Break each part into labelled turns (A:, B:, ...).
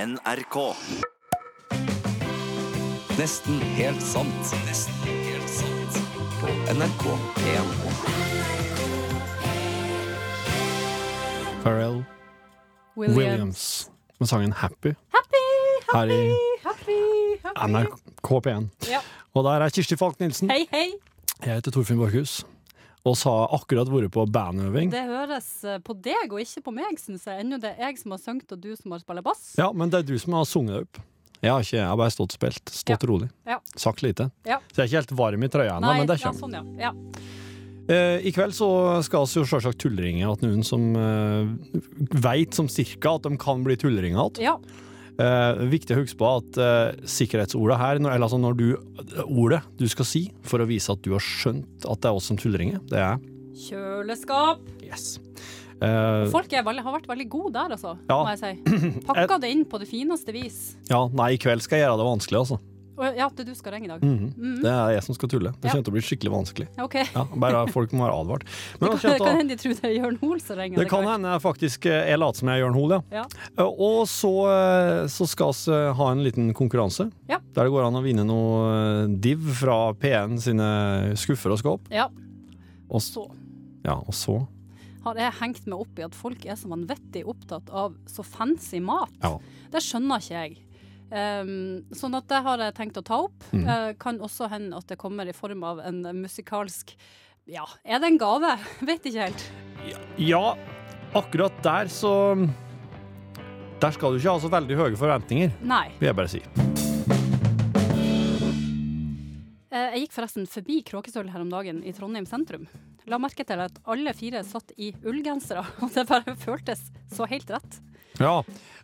A: NRK.
B: Nesten helt sant. Nesten helt sant. På NRK1.
C: Pharrell
D: William.
C: Williams med sangen 'Happy' her i
D: Happy, happy.
C: NRK P1.
D: Ja.
C: Og der er Kirsti Falk Nilsen.
D: Hei, hei.
C: Jeg heter Torfinn Borchhus. Og så har jeg akkurat vært på bandøving.
D: Det høres eh, på deg og ikke på meg, syns jeg. Ennå det er jeg som har sunget, og du som har spilt bass.
C: Ja, men det er du som har sunget det opp. Jeg har ikke, jeg har bare stått og spilt. Stått rolig.
D: Ja.
C: Sagt lite.
D: Ja.
C: Så jeg er ikke helt varm i trøya ennå, men det
D: ja,
C: kommer.
D: sånn, ja. ja.
C: Eh, I kveld så skal vi jo selvsagt tullringe at noen som eh, veit som cirka at de kan bli tullringa igjen.
D: ja.
C: Eh, viktig å huske på at eh, sikkerhetsordet her, når, eller altså når du, ordet du skal si for å vise at du har skjønt at det er oss som tullringer, det er
D: Kjøleskap.
C: yes. Eh,
D: Folk er veldig, har vært veldig gode der, altså.
C: Ja.
D: Må jeg si. Pakka det inn på det fineste vis.
C: ja, nei, i kveld skal jeg gjøre det vanskelig, altså. Mhm.
D: Og, ja, det du skal ringe i dag.
C: Mm. Det er jeg som skal tulle. Det
D: Mm. Ja.
C: kommer til å bli skikkelig vanskelig.
D: Ja, OK.
C: Ja, bare folk må være advart. Men
D: Det
C: altså,
D: kan,
C: jeg
D: det kan hende de tror det er Jørn Hoel som ringer.
C: tar- det kan hende jeg faktisk eh, jeg later som jeg er Jørn Hoel, ja.
D: Ja.
C: Eh, Og så, eh, så skal vi eh, ha en liten konkurranse.
D: Ja.
C: Der det går an å vinne noe eh, div fra P1 sine skuffer og skåp.
D: ja.
C: Og, s-
D: Så
C: ja, og så
D: har jeg hengt meg opp i at folk er så vanvittig opptatt av så fancy mat.
C: Ja.
D: Det skjønner ikke jeg. Um, sånn at det har jeg tenkt å ta opp. Eh, kan også hende at det kommer i form av en eh, musikalsk Ja, er det en gave? Vet ikke helt.
C: Ja, akkurat der så Der skal du ikke ha så veldig høye forventninger,
D: Nei.
C: vil jeg bare si.
D: Eh, jeg gikk forresten forbi Kråkesølv her om dagen i Trondheim sentrum. La merke til at alle fire satt i ullgensere, og det bare føltes så helt rett.
C: Ja,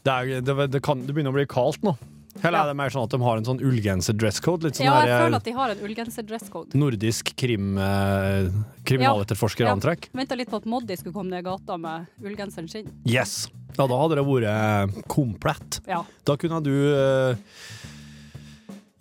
C: Det, er, det, det, kan, det begynner å bli kaldt nå. Eller
D: Ja.
C: er det mer sånn at de har en sånn ullgenser-dresscode? Litt sånn
D: Ja, jeg
C: der, eh,
D: føler at de har en ullgenser-dresscode.
C: nordisk krim, eh, kriminaletterforskerantrekk?
D: Venta litt på at Moddi skulle komme ned gata med ullgenseren sin.
C: Yes! Ja, da hadde det vært eh, komplett.
D: Ja.
C: Da kunne du eh,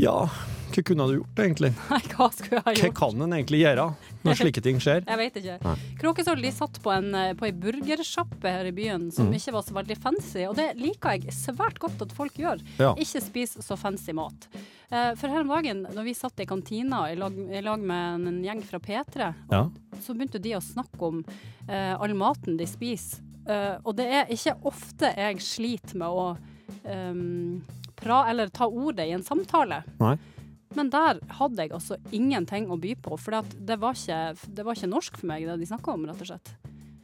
C: Ja, hva kunne du gjort, egentlig?
D: Nei, hva skulle jeg ha
C: Hva
D: gjort?
C: kan en egentlig gjøre når slike ting skjer?
D: Jeg vet ikke. Kråkesølv de satt på en, eh, på ei burgersjappe her i byen som ikke var så veldig fancy, og det liker jeg svært godt at folk gjør.
C: Ja.
D: Ikke spis så fancy mat. Eh, For her om dagen, når vi satt i kantina i lag, i lag med en- en gjeng fra P3,
C: Ja.
D: så begynte de å snakke om eh, all maten de spiser. Eh, og det er ikke ofte jeg sliter med å ehm, pra, eller ta ordet i en samtale.
C: Nei.
D: Men der hadde jeg altså ingenting å by på, for det, var ikke- det var ikke norsk for meg, det de snakka om, rett og slett.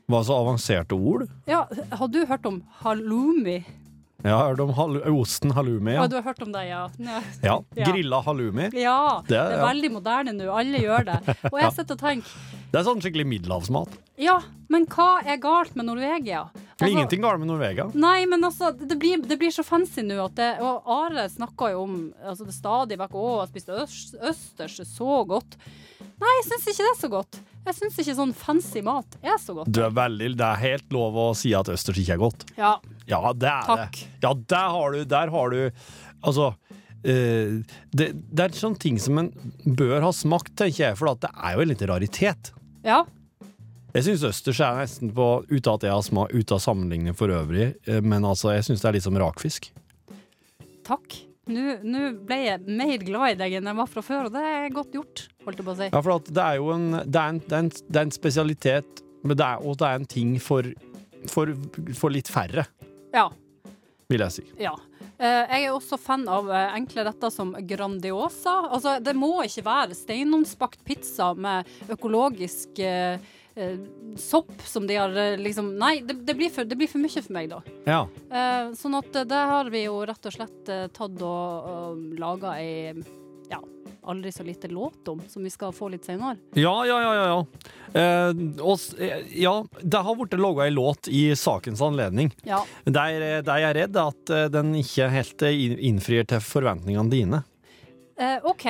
C: Var så avanserte ord.
D: Ja, har du hørt om halloumi?
C: Jeg har hørt om hal osten halloumi.
D: Ja.
C: Ja.
D: du har hørt om det, ja. Nå-
C: Ja,
D: Ja.
C: grilla halloumi.
D: Ja,
C: Det
D: det
C: er-
D: er
C: ja.
D: veldig moderne nå. Alle gjør det. Og jeg sitter og tenker,
C: Det er sånn skikkelig middelhavsmat.
D: ja, men hva er galt med Norvegia? Altså-
C: Ingenting galt med Norvegia.
D: Nei, men altså, det blir, det blir så fancy nå at det Og Are snakka jo om altså, det stadig vekk Å, jeg spiste øst, østers er så godt. Nei, jeg syns ikke det er så godt. Jeg syns ikke sånn fancy mat er så godt.
C: Du er veldig, det er helt lov å si at østers ikke er godt.
D: Ja.
C: Ja, det er
D: Takk.
C: det. Ja, der har du, der har du Altså eh, det, det er sånne ting som en bør ha smakt, tenker jeg, for at det er jo en liten raritet.
D: ja.
C: Jeg syns østers er nesten på Uten at jeg har smak, uten av sammenligning for øvrig, eh, men altså, jeg syns det er litt som rakfisk.
D: Takk. Nå nå ble jeg mer glad i deg enn jeg var fra før, og det er godt gjort, holdt jeg på å si.
C: Ja, for at det er jo en, det er en, det er en, det er en spesialitet, men det er, og det er en ting for, for, for litt færre,
D: Ja.
C: vil jeg si.
D: ja. Eh, jeg er også fan av eh, enkle retter som Grandiosa. Altså, det må ikke være steinovnsbakt pizza med økologisk eh, eh, sopp som de har eh, liksom Nei, det, det, blir for, det blir for mye for meg, da.
C: Ja.
D: Eh, sånn at eh, det har vi jo rett og slett eh, tatt og, og laga ei ja, aldri så lite låt om, som vi skal få litt senere.
C: Ja, ja, ja, ja. Eh, og s- eh, ja, det har blitt laga ei låt i sakens anledning.
D: Ja.
C: Der, eh, der jeg er redd at eh, den ikke helt eh, inn- innfrir til forventningene dine.
D: Eh, OK.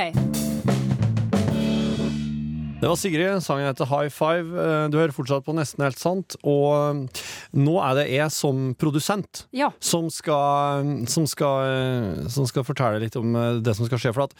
C: Det var Sigrid, sangen heter High Five. Eh, Du hører fortsatt på Nesten helt sant. Og eh, nå er det jeg som produsent
D: Ja.
C: som skal, som skal, som skal fortelle litt om eh, det som skal skje. For at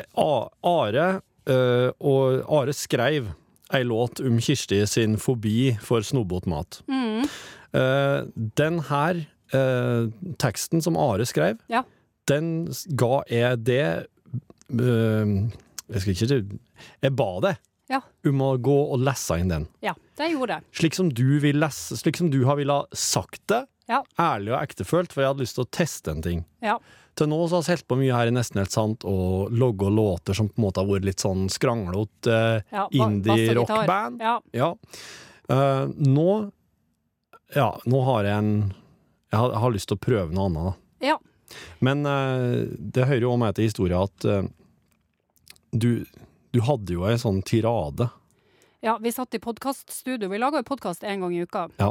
C: eh, A- Are, eh, og Are skrev ei låt om Kirsti sin fobi for snobbete mat. Eh, Den her eh, teksten som Are skrev,
D: Ja.
C: den s- ga jeg det eh, Jeg skal ikke si- Jeg ba deg
D: Ja.
C: om å gå og lese inn den.
D: Ja, det gjorde jeg.
C: Slik som du, vil lese, slik som du har villet sagt det,
D: Ja.
C: ærlig og ektefølt, for jeg hadde lyst til å teste en ting.
D: Ja.
C: Til nå så har vi holdt på mye her i Nesten helt sant, og logge og låter som på en måte har vært litt sånn skranglete eh,
D: ja ba- bass og gitar.
C: indie-rockband.
D: Ja.
C: Ja. Eh, nå Ja, nå har jeg en Jeg har, jeg har lyst til å prøve noe annet, da.
D: Ja.
C: Men eh, det hører jo også med til historien at eh, du, du hadde jo ei sånn tirade.
D: Ja, vi satt i podkaststudio. Vi lager jo podkast én gang i uka.
C: Ja.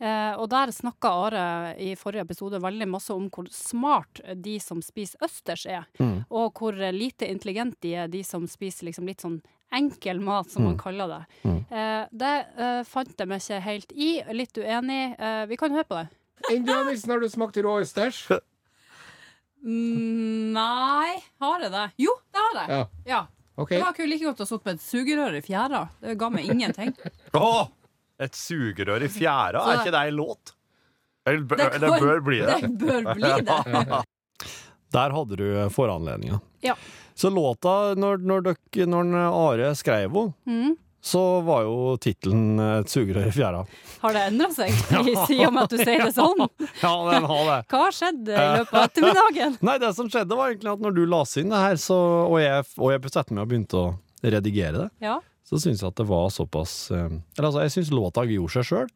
D: Eh, og der snakka Are i forrige episode veldig masse om hvor smart de som spiser østers er.
C: Mm.
D: Og hvor lite intelligent de er, de som spiser liksom litt sånn enkel mat, som man
C: Mm.
D: kaller det. Eh, det eh, fant jeg meg ikke helt i. Litt uenig. Eh, vi kan høre på det.
A: Endelig, Nilsen, har du smakt rå østers?
D: nei, har jeg det? Jo, det har jeg.
A: Ja,
D: Ja.
A: ok.
D: Det var ikke like godt å sitte med et sugerør i fjæra. Det ga meg ingenting.
E: Åh, et sugerør i fjæra, er ikke det en låt? Eller, bør-
D: Det kan-
E: det bør bli det.
D: Det bør bli det.
C: Der hadde du foranledninga.
D: Ja.
C: Så låta, når, når, dere, når den eh, Are skrev henne,
D: Mm.
C: så var jo tittelen eh, 'Et sugerør i fjæra'.
D: Har det endra seg i siden med at du sier det sånn?
C: Ja, den har det.
D: Hva har skjedd i løpet av ettermiddagen?
C: Nei, det som skjedde, var egentlig at når du leste inn det her, så, og jeg, og jeg satte meg og begynte å redigere det,
D: Ja,
C: så syns jeg at det var såpass eh, Eller altså, jeg syns låta gjorde seg sjøl,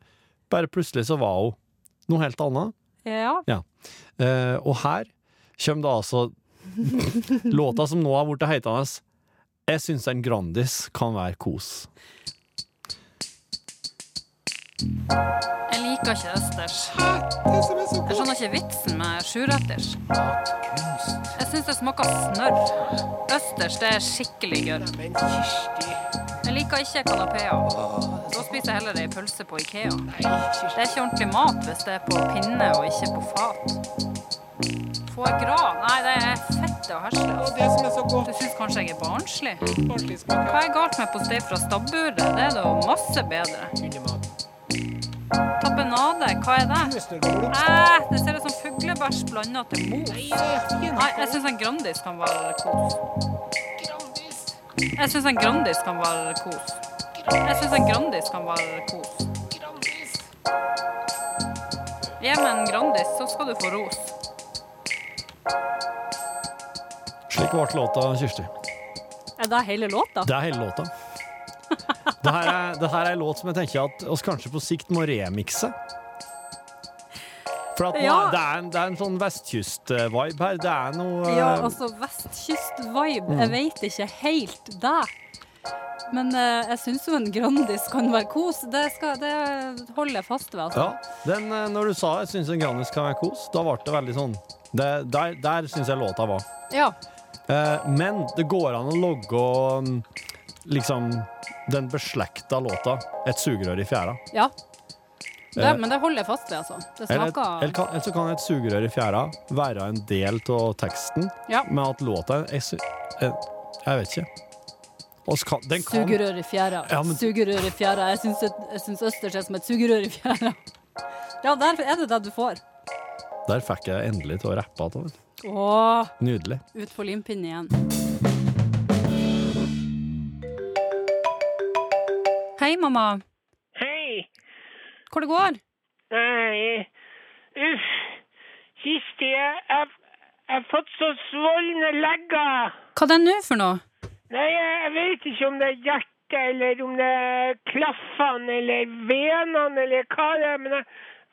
C: bare plutselig så var hun noe helt annet.
D: ja,
C: Eh, og her kommer det altså låta som nå har blitt hetende Jeg syns en Grandis kan være kos.
D: Jeg liker ikke østers. Jeg skjønner ikke vitsen med sjuretters. Jeg syns det smaker snørr. Østers det er skikkelig gørr. Jeg liker ikke kanapeer. Da spiser jeg heller ei pølse på Ikea. Det er ikke ordentlig mat hvis det er på pinne og ikke på fat. Få gras? Nei, det er fett og hersle. Du syns kanskje jeg er barnslig? Hva er galt med postei fra stabburet? Det er da masse bedre. Tapenade, hva er det? Æh, det ser ut som fuglebæsj blanda til mos. Nei, jeg syns en Grandis kan være kos. Jeg syns en Grandis kan være kos. Jeg syns en Grandis kan være kos. Gi meg en Grandis, så skal du få ros.
C: Slik ble låta, Kirsti.
D: Er det hele låta?
C: Det er hele låta. Det her er, det her er en låt som jeg tenker at oss kanskje på sikt må remikse. For at nå,
D: Ja.
C: er- det, er en, det er en sånn vestkyst-vibe her. Det er noe eh,
D: Ja, altså vestkyst-vibe. Jeg veit ikke helt det. Men eh, jeg syns jo en Grandis kan være kos. Det, skal, det holder jeg fast ved. Altså.
C: ja, den, eh, Når du sa 'jeg syns en Grannis kan være kos', da ble det veldig sånn det, Der, der syns jeg låta var.
D: Ja.
C: Eh, men det går an å logge og, mm, liksom den beslekta låta 'Et sugerør i fjæra'.
D: ja. Det,
C: Eh,
D: men det holder jeg fast ved, altså. Det
C: Eller,
D: smaker
C: eller, kan, eller så kan 'Et sugerør i fjæra' være en del av teksten.
D: ja.
C: Men at låta jeg, sy- jeg, jeg vet ikke. Og så kan, den kan
D: Sugerør i fjæra.
C: Ja, men-
D: Sugerør i fjæra. Jeg syns, et- jeg syns østers er som et sugerør i fjæra. Ja, der er det det du får.
C: Der fikk jeg endelig til å rappe igjen.
D: Åh,
C: Nydelig.
D: ut for limpinnen igjen. Hei, mamma.
F: Hei.
D: Hvor det går?
F: Nei. Uff. Kirsti, jeg jeg- jeg har fått så svulne legger.
D: Hva det er nå for noe?
F: Nei, jeg jeg vet ikke om det er hjertet, eller om det er klaffene, eller venene, eller hva det er. Men jeg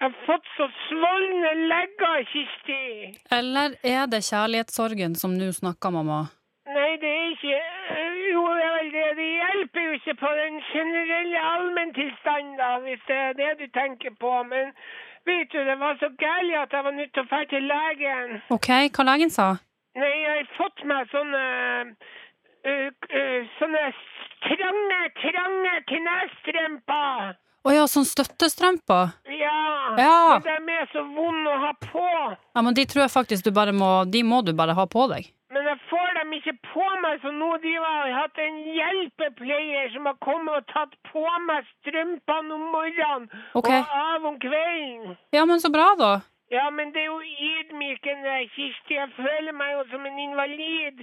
F: jeg har fått så svulne legger, Kirsti.
D: Eller er det kjærlighetssorgen som nå snakker, mamma?
F: Nei, det er ikke øh, Jo, det er vel det. Det hjelper jo ikke på den generelle allmenntilstanden, da, hvis det er det du tenker på. Men vet du, det var så gærent at jeg var nødt til å dra til legen.
D: OK, hva legen sa?
F: Nei, jeg har fått meg sånne eh, eh, Sånne trange, trange knestrømper.
D: Å ja, sånn støttestrømper?
F: Ja.
D: Ja.
F: De er så vonde å ha på.
D: Ja, men de tror jeg faktisk du bare må De må du bare ha på deg.
F: Men jeg får dem ikke på meg, så nå de har jeg hatt en hjelpepleier som har kommet og tatt på meg strømpene om morgenen
D: Ok.
F: og av om kvelden.
D: Ja, men så bra, da.
F: Ja, men det er jo ydmykende, Kirsti. Jeg føler meg jo som en invalid.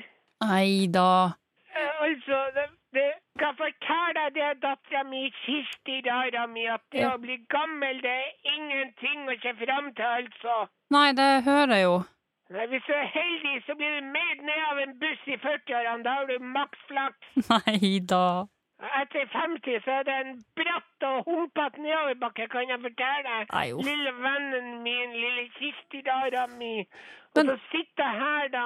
D: Nei da.
F: Eh, altså, det, det skal fortelle deg det, dattera mi, Kirsti Rara mi, at det
D: Ja.
F: å bli gammel, det er ingenting å se fram til, altså.
D: Nei, det hører jeg jo.
F: Nei, hvis du er heldig, så blir du meid ned av en buss i 40-årene. Da har du maks flaks.
D: Nei da.
F: Etter 50 så er det en bratt og humpete nedoverbakke, kan jeg fortelle deg.
D: Nei, uff.
F: Lille vennen min, lille Kirsti Dara mi. Og
D: Men-
F: så sitter jeg her, da,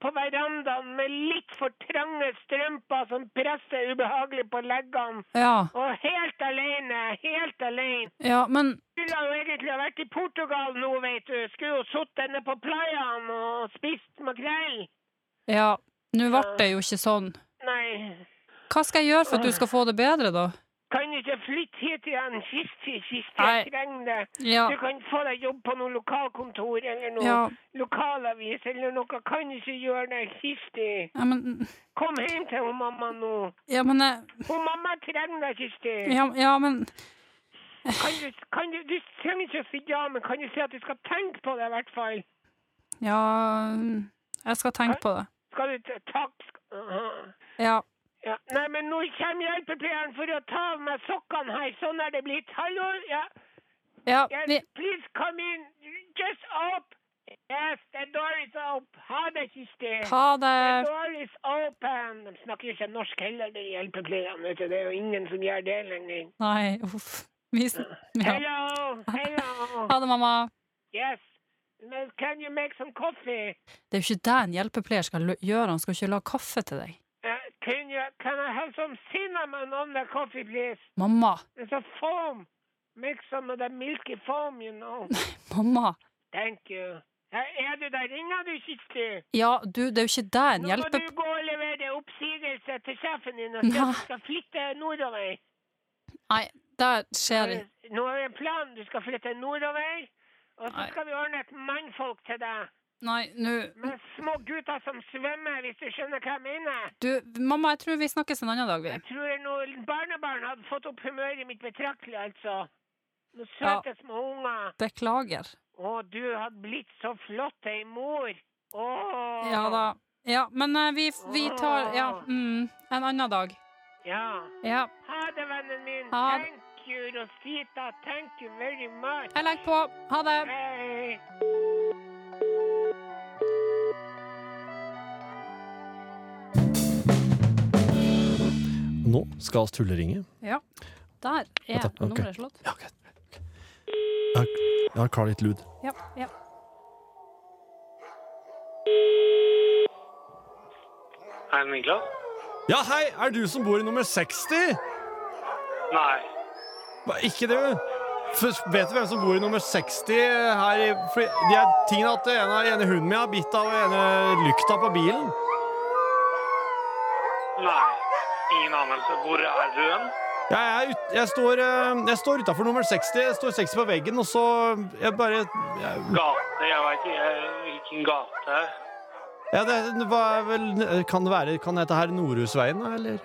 F: på verandaen med litt for trange strømper som presser ubehagelig på leggene.
D: Ja,
F: Og helt alene, helt alene.
D: ja, men
F: Skulle jo egentlig ha vært i Portugal nå, vet du. Skulle jo sittet nede på playaen og spist makrell.
D: Ja, nå ble det jo ikke sånn.
F: Nei,
D: Hva skal jeg gjøre for at du skal få det bedre, da?
F: kan ikke flytte hit igjen. Kirsti, Kirsti,
D: Nei.
F: jeg trenger det.
D: Ja,
F: Du kan få deg jobb på noe lokalkontor eller noe
D: Ja.
F: lokalavis eller noe. Kan ikke gjøre det, Kirsti.
D: ja men,
F: Kom hjem til hun mamma nå.
D: ja, men, jeg-
F: Hun mamma trenger deg, Kirsti.
D: ja, ja, men
F: Kan du, kan du, du trenger ikke å si ja, men kan du si at du skal tenke på det i hvert fall?
D: Ja, jeg skal tenke på det.
F: Skal du t- takk? sk- Aha.
D: Ja.
F: Ja. Nei, men nå kommer hjelpepleieren for å ta av meg sokkene her. Sånn er det blitt. Hallo? Ja.
D: ja
F: Yes,
D: vi,
F: please come in. Just up. Yes, the door is up. Ha det, Kirsti.
D: ha
F: The
D: det.
F: door is open. De snakker jo ikke norsk heller, de hjelpepleierne. vet du. Det er jo ingen som gjør det lenger.
D: Nei, uff. Vi, sn- ja.
F: Hello, hello.
D: Ha det, mamma.
F: Yes. Well, Can you make some coffee?
D: Det er jo ikke det en hjelpepleier skal lø- gjøre, han skal ikke lage kaffe til deg.
F: Uh, can you can I have some cinnamon on the coffee, please?
D: Mamma,
F: There's a foam. Make some of the milky foam, you know.
D: mamma.
F: Thank you. Her er du der? Ringer du, Kirsti?
D: Ja, du, det er jo ikke det en
F: Nå må
D: hjelpe...
F: du gå og levere oppsigelse til sjefen din og si at du
D: Nei.
F: skal flytte nordover.
D: Nei, det skjer ikke.
F: Nå er det en plan. Du skal flytte nordover, og så
D: Nei.
F: skal vi ordne et mannfolk til deg.
D: Nei, nå...
F: Med små gutter som svømmer, hvis du skjønner hva jeg mener.
D: Du, mamma, jeg tror vi snakkes en annen dag, vi.
F: Jeg tror noen barnebarn hadde fått opp humøret mitt betraktelig, altså. Noen
D: Ja.
F: søte små unger.
D: Beklager.
F: Å, du hadde blitt så flott ei mor. Å.
D: Ja da. Ja, men eh, vi, vi tar Ja, mm, en annen dag.
F: Ja.
D: Ja.
F: Ha det, vennen min.
D: Ha det.
F: Thank you, Rosita. Thank you very much.
D: Jeg legger på. Ha det.
F: Hei.
C: Nå skal vi tulleringe.
D: Ja. Der er
C: Vent da, ok.
D: nummeret slått.
C: Ja, ok. Jeg jeg har klar litt lyd.
D: Ja, ja.
G: Er den vinkla?
C: Ja, hei! Er du som bor i nummer 60?
G: Nei.
C: Hva, Ikke du? F- Vet du hvem som bor i nummer 60 her i for De er tingene at det ene, ene hunden min har bitt av og ene lykta på bilen.
G: Nei. Ingen anelse. Hvor er du hen?
C: Jeg, er ut, jeg står, eh, jeg står utafor nummer 60. Jeg står 60 på veggen, og så Jeg bare jeg,
G: Gate? Jeg veit ikke hvilken gate.
C: ja, det, var vel, Kan det være Kan det hete her Nordhusveien, da, eller?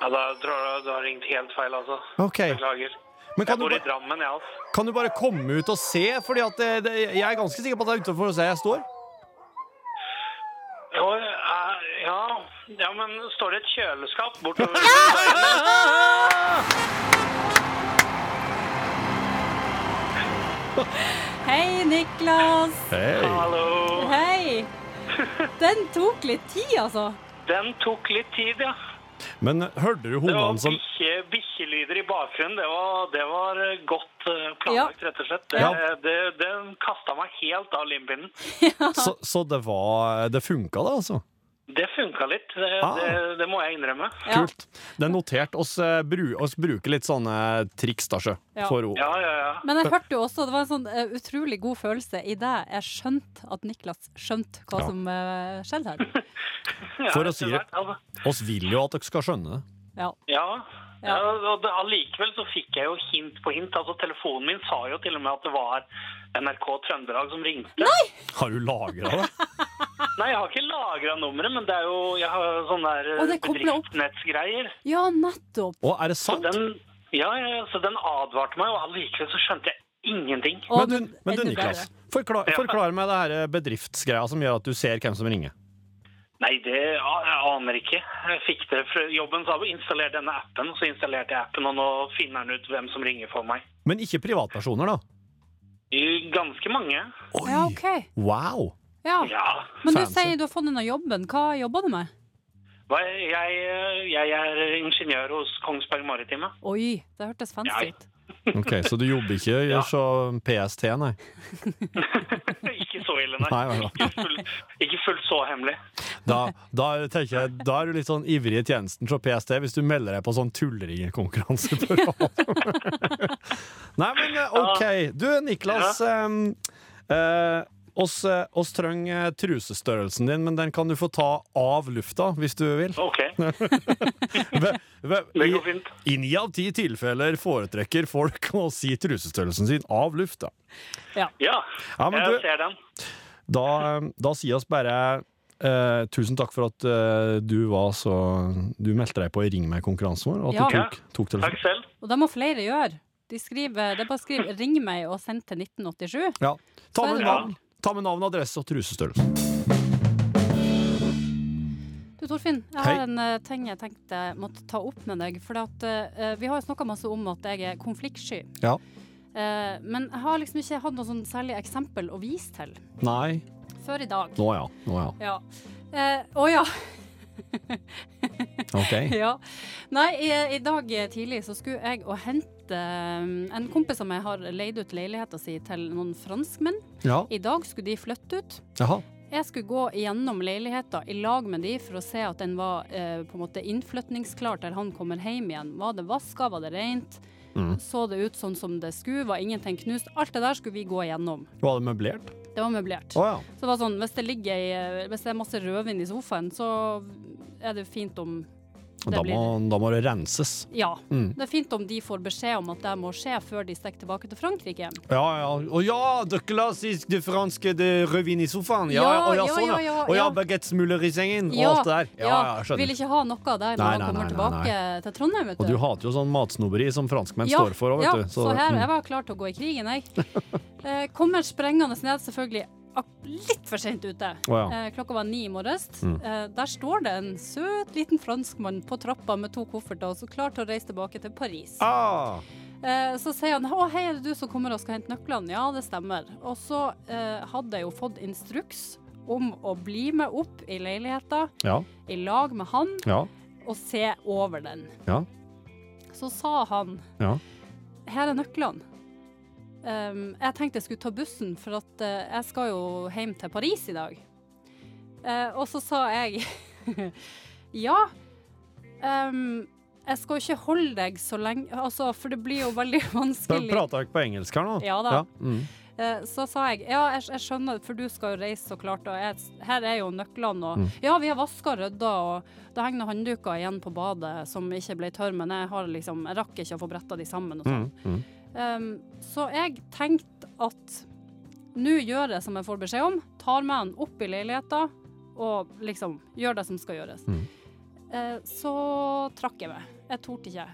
G: Ja, da tror jeg du har ringt helt feil, altså.
C: OK.
G: Beklager.
C: Men
G: Jeg
C: kan du,
G: bor i
C: bare,
G: Drammen, jeg, altså.
C: kan du bare komme ut og se? Fordi at det, det, jeg er ganske sikker på at det er utenfor hos jeg står.
G: Jo, eh, Ja. ja, men står det et kjøleskap bortover veien?
D: Hei, Niklas.
G: Hallo.
D: Hei. Den tok litt tid, altså.
G: Den tok litt tid, ja.
C: Men eh, hørte du
G: Det var
C: hundene som
G: bikkje- bikkjelyder i bakgrunnen. Det var, det var godt eh, planlagt, rett og slett. Det,
C: Ja.
G: det, den kasta meg helt av limpinnen.
C: Så, så det var eh, Det funka, det, altså?
G: Det funka litt, det,
C: Ah.
G: det, det må jeg innrømme.
D: Ja.
C: Kult. Det er notert. Oss, eh, bru, oss bruker litt sånne eh, triks, da, sjø.
D: Ja.
C: For ord.
G: Ja, ja, ja.
D: Men jeg hørte jo også, det var en sånn eh, utrolig god følelse i det jeg skjønte at Niklas skjønte hva
C: Ja.
D: som uh, skjedde her.
G: ja
C: For å
G: etter
C: si det.
G: hvert, altså.
C: Oss vil jo at dere skal skjønne det.
D: Ja.
G: Ja.
D: Ja.
G: ja. og det- Allikevel så fikk jeg jo hint på hint. Altså, telefonen min sa jo til og med at det var NRK Trøndelag som ringte. Nei,
C: Har du lagra det?
G: jeg har ikke lagra nummeret, men det er jo jeg har sånne der
D: Å,
G: eh,
D: det kobler opp.
G: bedriftsnettgreier.
D: ja, nettopp.
C: Og er det
G: Så
C: sant?
G: den, ja, ja, ja, så den advarte meg, og allikevel så skjønte jeg Ingenting.
D: Og-
C: Men du, men du
D: enda
C: Niklas,
D: bedre.
C: forklar, forklar meg det her eh, bedriftsgreia som gjør at du ser hvem som ringer.
G: Nei, det a- jeg aner ikke. Jeg fikk det fra jobben, sa jeg installer denne appen. Så installerte jeg appen, og nå finner den ut hvem som ringer for meg.
C: Men ikke privatpersoner, da.
G: I Ganske mange.
D: Ja, OK.
C: Wow!
D: Ja.
G: Ja.
D: Men du
C: Fancy.
D: sier du har fått denne jobben. Hva jobber du med?
G: Hva- Jeg, jeg er ingeniør hos Kongsberg Maritime.
D: Oi, det hørtes fancy
G: Nei.
D: ut.
C: Ok, Så du jobber ikke
G: Ja.
C: så PST, nei?
G: ikke så ille, nei.
C: Nei, nei, nei.
G: Ikke, fullt, ikke fullt så hemmelig.
C: Da, da, tenker jeg, da er du litt sånn ivrig i tjenesten fra PST hvis du melder deg på sånn tulleringekonkurranse. på radio. nei, men eh, OK. Du, Niklas. em, eh, oss, eh, oss trenger eh, trusestørrelsen din, men den kan du få ta av lufta hvis du vil.
G: OK,
C: Ve- ve-
G: det
C: i-
G: går fint.
C: I ni av ti tilfeller foretrekker folk å si trusestørrelsen sin av lufta.
G: Ja,
C: Ja, men
G: jeg
C: du,
G: ser den.
C: da, da sier oss bare eh, tusen takk for at eh, du var så Du meldte deg på Ring meg-konkurransen vår, og at
G: Ja.
C: du tok, tok
G: Takk
C: telefonen.
G: selv.
D: Og det må flere gjøre. De skriver, det er bare å skrive 'ring meg' og send til 1987.
C: Ja. Ta,
D: Så er
C: med
D: det
C: navn, ta med navn, adresse og trusestørrelse.
D: Du Torfinn, jeg
C: Hei.
D: har en eh, ting jeg tenkte jeg måtte ta opp med deg. For at, eh, vi har jo snakka masse om at jeg er konfliktsky.
C: Ja.
D: Eh, men jeg har liksom ikke hatt noe sånn særlig eksempel å vise til
C: Nei.
D: før i dag.
C: Nå ja. Nå ja.
D: Ja. Eh, å ja.
C: OK.
D: ja. Nei, i, i dag tidlig så skulle jeg og hente eh, en kompis som jeg har leid ut leiligheta si til noen franskmenn.
C: Ja.
D: I dag skulle de flytte ut.
C: Jaha.
D: Jeg skulle gå gjennom leiligheta i lag med de for å se at den var eh, på en måte innflytningsklar til han kommer hjem igjen. Var det vaska, var det rent?
C: Mm.
D: Så det ut sånn som det skulle? Var ingenting knust? Alt det der skulle vi gå gjennom.
C: Var det møblert?
D: Det var møblert.
C: Å ja.
D: Så det var sånn, hvis det, ligger ei, hvis det er masse rødvin i sofaen, så er det fint om det
C: Da må,
D: blir
C: da må det renses.
D: Ja.
C: Mm.
D: Det er fint om de får beskjed om at det må skje før de stikker tilbake til Frankrike.
C: Ja, ja. Å ja, det klassisk det franske det rødvin i sofaen. Ja, ja,
D: Ja,
C: å ja,
D: ja,
C: sånn, ja.
D: ja, ja,
C: Å ja,
D: ja.
C: baguettesmuler i sengen og alt det der. Ja, ja, jeg
D: Vil
C: skjønner.
D: ikke ha noe der når
C: Nei,
D: han
C: nei,
D: kommer
C: nei, nei,
D: tilbake til Trondheim, vet
C: Og du hater jo sånn matsnobberi som franskmenn står for òg,
D: ja,
C: vet du.
D: Så, her, jeg var klar til å gå i krigen, jeg. Eh, kommer sprengende ned, selvfølgelig ak- litt for sent ute.
C: Å, ja. Mm.
D: eh, klokka var ni i morges. Eh, der står det en søt liten franskmann på trappa med to kofferter og så klar til å reise tilbake til Paris.
C: ah,
D: Eh, så sier han 'Å, hei, er det du som kommer og skal hente nøklene?' Ja, det stemmer. Og så eh, hadde jeg jo fått instruks om å bli med opp i leiligheta
C: ja,
D: i lag med han
C: ja,
D: og se over den.
C: ja,
D: Så sa han
C: ja.
D: her er nøklene. Ehm, jeg tenkte jeg skulle ta bussen, for at eh, jeg skal jo hjem til Paris i dag. Eh, og så sa jeg ja. ehm, jeg skal jo ikke holde deg så lenge, altså, for det blir jo veldig
C: Men
D: vanskelig.
C: Prater dere på engelsk her nå?
D: Ja da.
C: mm.
D: Eh, så sa jeg ja, jeg, jeg skjønner, for du skal jo reise så klart, og jeg, her er jo nøklene. Og, Ja, vi har vaska og rydda, og det henger noen handduker igjen på badet som ikke ble tørre, men jeg, har liksom, jeg rakk ikke å få bretta de sammen. Og sånn. Um, så jeg tenkte at nå gjør jeg som jeg får beskjed om, tar med han opp i leiligheta og liksom gjør det som skal gjøres. Eh, så trakk jeg meg. Jeg torde ikke.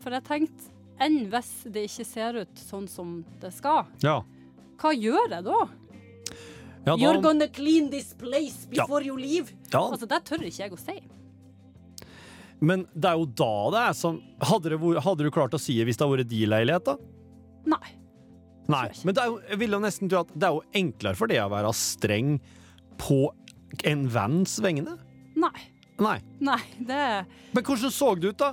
D: For jeg tenkte, enn hvis det ikke ser ut sånn som det skal,
C: ja.
D: hva gjør jeg da?
C: Ja, da
D: You're gonna clean this place before you leave.
C: Ja.
D: Altså, det tør ikke jeg å si.
C: Men det er jo da det er som Hadde, det, vært- hadde du klart å si det hvis det hadde vært din leilighet, da?
D: Nei.
C: Nei, men det er jo, jeg vil jo nesten tro at det er jo enklere for det å være streng på en venns vegne.
D: Nei.
C: Nei.
D: Nei, det
C: Men hvordan så det ut, da?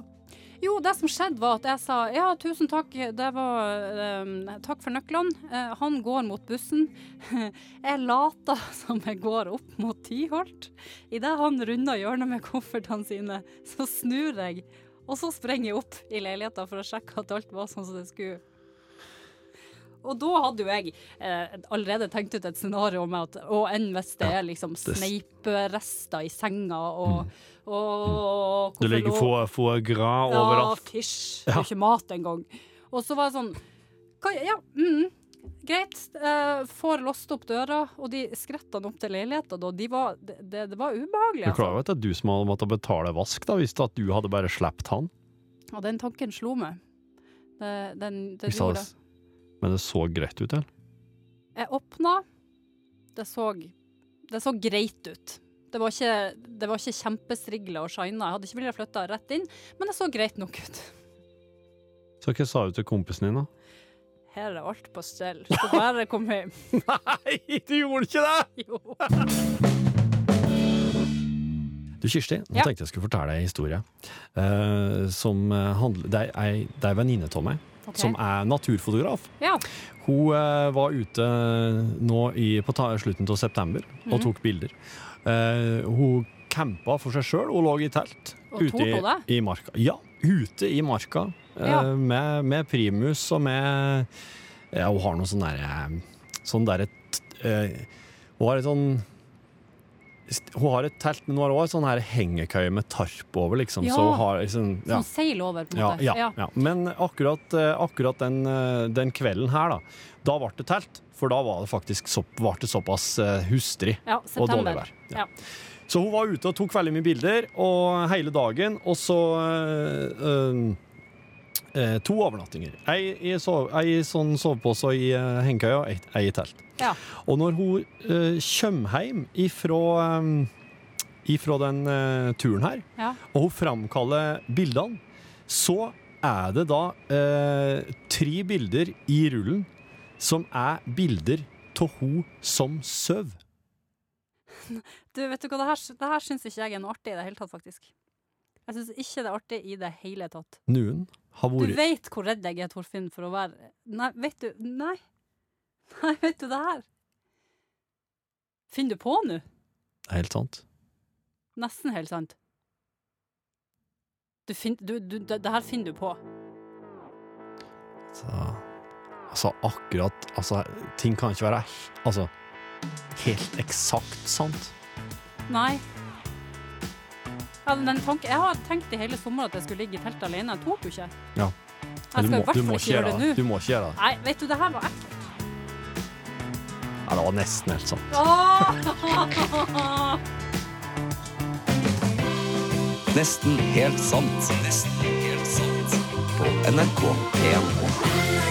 D: Jo, det som skjedde var at jeg sa ja, tusen takk, det var eh, takk for nøklene. Eh, han går mot bussen. jeg later som jeg går opp mot Tyholt. Idet han runder hjørnet med koffertene sine, så snur jeg. Og så sprenger jeg opp i leiligheta for å sjekke at alt var sånn som det skulle. Og da hadde jo jeg eh, allerede tenkt ut et scenario med at å, enn hvis det er liksom sneiperester i senga og,
C: Mm.
D: og hvorfor lå-
C: foie gras
D: ja, fysj. Det er jo ikke mat engang. Og så var jeg sånn hva, Ja, mm, greit. Eh, får låst opp døra, og de skrettene opp til leiligheta da, de var, det, det, det var ubehagelig.
C: Du er
D: Altså.
C: klar over at det er du som hadde måttet betale vask, da, hvis det at du hadde bare sluppet han?
D: altså." Og den tanken slo meg. Det, den, det
C: Hvis det
D: gjorde det.
C: hadde- Men det så greit ut, eller?
D: Jeg åpna. Det så, det så greit ut. Det var ikke, det var ikke kjempestrigla og shina. Jeg hadde ikke villet flytte rett inn, men det så greit nok ut.
C: Så hva sa du til kompisen din, da?
D: Her er alt på stell. Så bare kom hjem.
C: Nei, du gjorde ikke det!
D: Jo.
C: Du, Kirsti, nå
D: Ja.
C: tenkte jeg skulle fortelle deg en historie. eh, som eh, handler Det er ei det er en venninne av meg
D: Ok.
C: som er naturfotograf.
D: Ja.
C: Hun eh, var ute nå i, på ta, slutten av september og
D: Mhm.
C: tok bilder. Eh, hun campa for seg sjøl. Hun lå i telt
D: Og tok
C: i,
D: hun det?
C: i marka. Ja, ute i marka eh,
D: Ja.
C: med, med primus og med ja, Hun har noe sånn derre Sånn derre t- eh, Hun har et sånn st- hun har et telt, men hun har òg sånn her hengekøye med tarp over, liksom.
D: Ja.
C: Så hun har liksom ja.
D: Sånn seil over, på en
C: Ja,
D: måte.
C: ja, ja. Men akkurat, eh, akkurat den, eh, den kvelden her, da, da ble det telt. For da var det faktisk så, var det såpass eh, hustrig
D: Ja,
C: og dårlig
D: september.
C: vær. Ja.
D: Ja.
C: Så hun var ute og tok veldig mye bilder og hele dagen, og så eh, eh, eh, To overnattinger. Ei i sov, ei i sånn sovepose i uh, hengekøye og ei- ei i telt.
D: Ja.
C: Og når hun uh, kjem hjem ifra, eh, ifra den eh, turen her,
D: Ja.
C: og hun framkaller bildene, så er det da eh, tre bilder i rullen som er bilder av hun som søv.
D: Du, vet du hva, det her, det her syns ikke jeg er noe artig i det hele tatt, faktisk. Jeg syns ikke det er artig i det hele tatt.
C: Noen har
D: Du
C: vært
D: vet hvor redd jeg er, Torfinn, for å være Nei, vet du Nei. Nei, vet du det her? Finner du på nå?
C: Helt sant.
D: Nesten helt sant. Du fin, du, du, det, det her finner du på.
C: Så, altså, akkurat Altså, ting kan ikke være he- altså, helt eksakt sant.
D: Nei. Ja, men den tanken, jeg har tenkt i hele sommer at jeg skulle ligge i teltet alene. Jeg tok jo ikke.
C: Ja.
D: Jeg skal i hvert fall ikke gjøre det nå.
C: Du må ikke gjøre det.
D: Nei, vet du, det her var ekkelt.
C: Ja, det var nesten helt sant.
D: Åh!
B: Nesten helt sant. Nesten helt sant. På NRK P1.